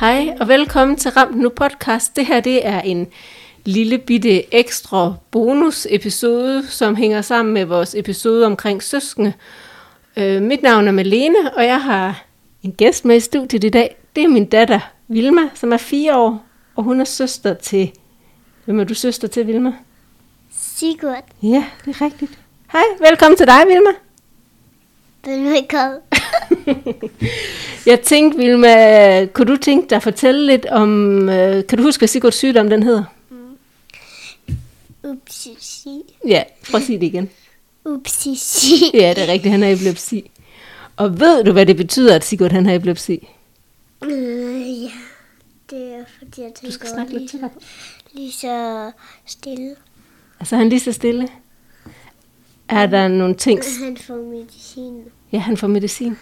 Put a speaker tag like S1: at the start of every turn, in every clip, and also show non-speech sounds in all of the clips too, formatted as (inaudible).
S1: Hej og velkommen til Ramt Nu podcast. Det her det er en lille bitte ekstra bonus episode, som hænger sammen med vores episode omkring søskende. Øh, mit navn er Malene, og jeg har en gæst med i studiet i dag. Det er min datter, Vilma, som er fire år, og hun er søster til... Hvem er du søster til, Vilma?
S2: Sigurd,
S1: Ja, det er rigtigt. Hej, velkommen til dig, (laughs) Vilma.
S2: velkommen.
S1: Jeg tænkte, Vilma, kunne du tænke dig at fortælle lidt om... Øh, kan du huske, hvad Sigurds sygdom den hedder?
S2: Upsisi,
S1: Ja, prøv at sige det igen.
S2: upsisi.
S1: Ja, det er rigtigt, han har epilepsi. Og ved du, hvad det betyder, at Sigurd han har epilepsi?
S2: Øh, ja, det er fordi, at han går lige, så- lige så stille.
S1: Altså, han er lige så stille. Er der nogle ting...
S2: Og han får medicin.
S1: Ja, han får medicin.
S2: Han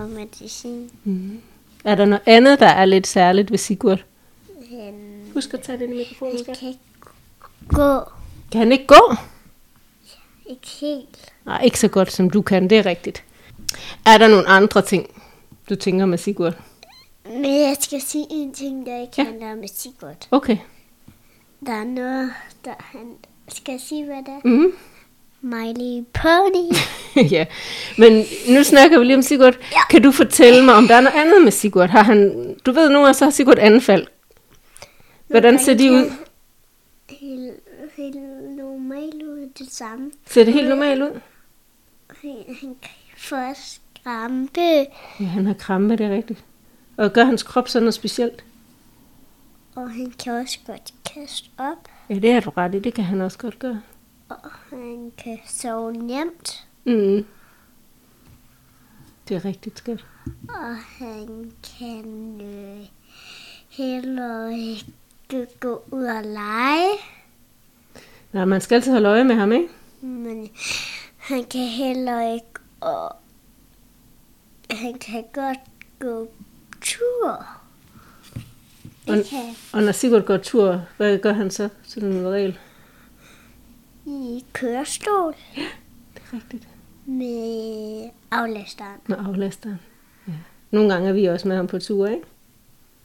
S2: får medicin.
S1: Er der noget andet, der er lidt særligt ved Sigurd?
S2: Han,
S1: Husk at tage den mikrofon,
S2: han kan ikke gå.
S1: Kan han ikke gå?
S2: Ikke helt.
S1: Nej, ikke så godt, som du kan. Det er rigtigt. Er der nogle andre ting, du tænker med Sigurd?
S2: Men jeg skal sige en ting, der ikke handler om Sigurd.
S1: Okay.
S2: Der er noget, der han skal jeg sige, hvad det er.
S1: Mm.
S2: My Little Pony.
S1: (laughs) ja, men nu snakker vi lige om Sigurd. Ja. Kan du fortælle mig, om der er noget andet med Sigurd? Har han, du ved nu, at så har Sigurd anfald. Hvordan ser de ud?
S2: Helt, helt normalt ud det samme.
S1: Ser det helt normalt ud?
S2: Han, han kan få skrampe,
S1: Ja, han har krampe, det er rigtigt. Og gør hans krop sådan noget specielt?
S2: og han kan også godt kaste op,
S1: Ja, det har du ret i. Det kan han også godt gøre.
S2: og han kan sove nemt,
S1: Mm. Det er rigtigt, skat.
S2: og han kan øh, heller ikke gå ud og lege,
S1: Nej, man skal altid holde øje med ham, ikke?
S2: men han kan heller ikke, og han kan godt gå tur.
S1: Og-
S2: Det kan
S1: Og når Sigurd går tur, hvad gør han så? Sådan en regel.
S2: i kørestol
S1: Det er rigtigt.
S2: med aflasteren.
S1: Med aflasteren. Ja. Nogle gange er vi også med ham på tur, ikke?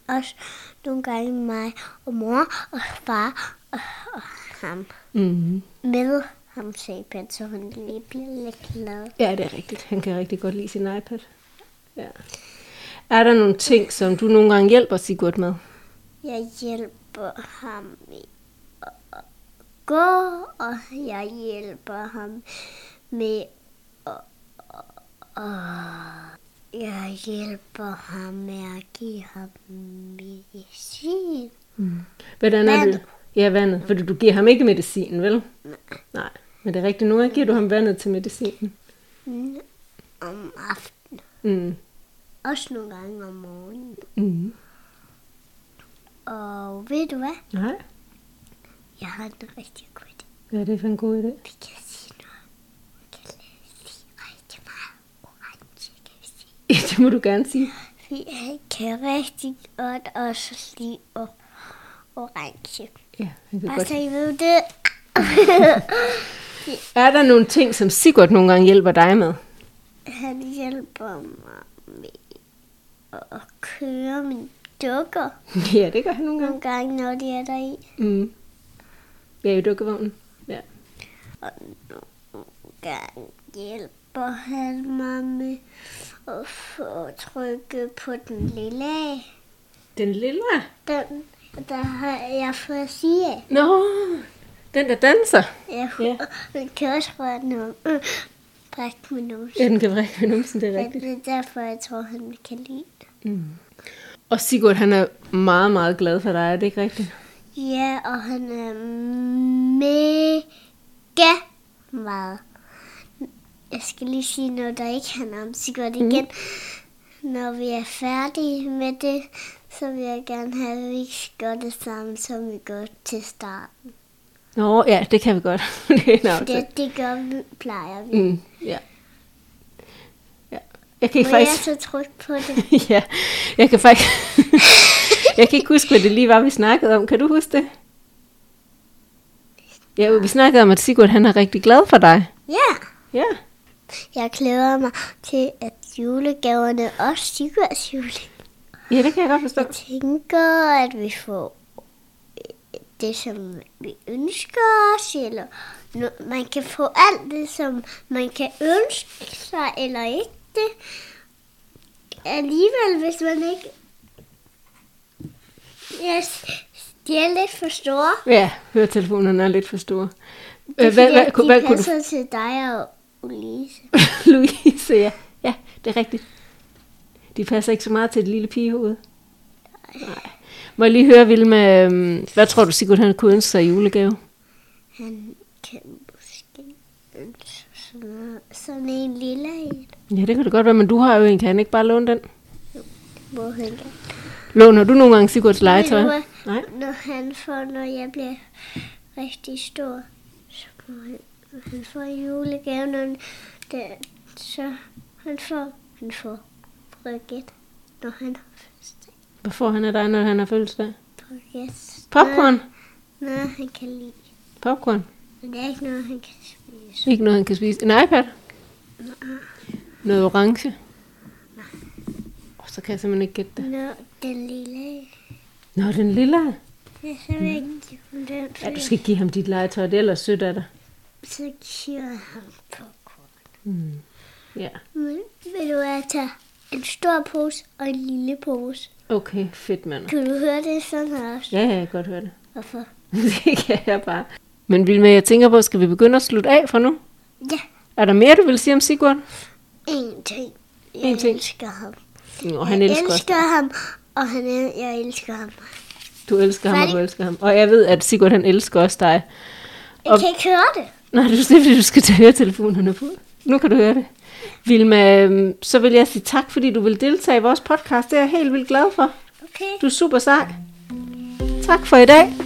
S2: også nogle gange mig og mor og far og, og ham
S1: Mm.
S2: med ham sagde så han lige bliver lidt glad.
S1: Ja, det er rigtigt. Han kan rigtig godt lide sin iPad. Ja. Er der nogle ting, som du nogle gange hjælper Sigurd med?
S2: Jeg hjælper ham med at gå, og jeg hjælper ham med at... at- Jeg hjælper ham med at give ham medicin.
S1: Hvordan er det?
S2: Vandet.
S1: Ja, Mm. vandet. Fordi du giver ham ikke medicin, vel? Nej. Nej. Men det er rigtigt. Nogle gange giver du ham vandet til medicinen.
S2: Mm, Om aftenen.
S1: Mm.
S2: Også nogle gange om morgenen.
S1: Mm.
S2: Og ved du hvad?
S1: Nej.
S2: Jeg har en rigtig god idé.
S1: Hvad er det for en god idé?
S2: Vi kan sige noget. Vi kan sige rigtig meget orange, kan vi sige.
S1: (laughs) Ja, det må du gerne sige.
S2: Vi kan rigtig godt også lide o- orange.
S1: Ja, han kan
S2: Bare
S1: godt.
S2: så I ved det.
S1: Er der nogle ting, som Sigurd nogle gange hjælper dig med?
S2: Han hjælper mig med at køre mine dukker.
S1: (laughs) Ja, det gør han nogle gange.
S2: Nogle gange, når de er der i.
S1: Mm. Ja, i dukkevognen. Ja.
S2: Og nogle gange hjælper han mig med at få trykket på den lille af.
S1: Den lille.
S2: Den, der har jeg fået at sige af.
S1: Nå, den der danser.
S2: Jeg
S1: Ja.
S2: yeah. kan også røre noget. Øh, brække med nogen.
S1: Ja, den kan brække ved numsen, det er rigtigt. Mm.
S2: Men det er derfor, jeg tror, han kan lide det.
S1: Og Sigurd, han er meget, meget glad for dig, er det ikke rigtigt?
S2: Ja, og han er mega meget. Jeg skal lige sige noget, der ikke handler om Sigurd
S1: Mhm.
S2: igen. Når vi er færdige med det, så vil jeg gerne have, at vi gør det samme, som vi gør til starten.
S1: Nå, ja, det kan vi godt. (laughs) det er en aftale.
S2: Det, det gør vi, plejer vi.
S1: Mm, ja. ja. Jeg kan ikke
S2: Må jeg
S1: faktisk...
S2: så trykke på det?
S1: (laughs) ja, jeg kan faktisk... (laughs) jeg kan ikke huske, hvad det lige var, vi snakkede om. Kan du huske det? Ja, vi snakkede om, at Sigurd, han er rigtig glad for dig.
S2: Ja!
S1: Ja.
S2: Jeg glæder mig til, at julegaverne også Sigurds jule.
S1: Ja, det kan jeg godt
S2: (laughs)
S1: forstå.
S2: Jeg tænker, at vi får øh, det, som vi ønsker os, eller no- man kan få alt det, som man kan ønske sig, eller ikke det. Alligevel, hvis man ikke... Yes, de er lidt for store.
S1: Ja, høretelefonerne er lidt for store.
S2: Det er
S1: Øh, Hvad,
S2: fordi,
S1: hvad,
S2: at
S1: kunne-
S2: de
S1: hvad kunne du...
S2: passer til dig og Ulise.
S1: (laughs) Louise, ja. Ja, det er rigtigt. De passer ikke så meget til et lille pigehoved. Nej. Må jeg lige høre, Vilma, øhm, hvad tror du, Sigurd han kunne ønske sig i julegave?
S2: Han kan måske ønske sådan, noget- sådan en lille en,
S1: Ja, det kan det godt være, men du har jo en. Kan han ikke bare låne den?
S2: hvor han kan.
S1: Låner du nogle gange Sigurds legetøj?
S2: Ved du hvad?
S1: Nej.
S2: Når han får, når jeg bliver rigtig stor, så må han, han får en julegave, når han, der, så han får, han får brygget, når han har fødselsdag.
S1: Hvad får han af dig, når han har fødselsdag?
S2: Brygget.
S1: Popcorn?
S2: Noget, noget, han kan lide.
S1: Popcorn.
S2: Men det er ikke noget, han kan spise.
S1: Ikke noget, han kan spise. En iPad? Noget orange? Åh, så kan jeg simpelthen ikke gætte det.
S2: Nå, den lille.
S1: Nå, den lille.
S2: Ja, så
S1: Mm.
S2: vil jeg ikke give ham den, for
S1: Ja, du skal give ham dit legetøj, det er ellers sødt af dig.
S2: så giver jeg ham popcorn.
S1: Mm. Ja,
S2: Men vil du have tage en stor pose og en lille pose?
S1: okay, fedt mand.
S2: Kan du høre det sådan her også?
S1: Ja, ja, jeg kan godt høre det. (laughs)
S2: Hvorfor?
S1: det kan jeg bare. Men Vilma, jeg tænker på, skal vi begynde at slutte af for nu?
S2: Ja,
S1: Er der mere, du vil sige om Sigurd?
S2: en ting. Jeg
S1: En ting.
S2: elsker ham.
S1: Og han
S2: jeg
S1: elsker os.
S2: elsker ham, og han el- jeg elsker ham.
S1: Du elsker ham, og
S2: Færdig.
S1: du elsker ham. Og jeg ved, at Sigurd han elsker også dig.
S2: Jeg
S1: Og-
S2: kan ikke høre det.
S1: Nej, det er fordi, du skal tage høretelefonerne på. Nu kan du høre det. Vilma, øhm, så vil jeg sige tak, fordi du vil deltage i vores podcast. Det er jeg helt vildt glad for.
S2: Okay.
S1: Du er super sej. Tak for i dag.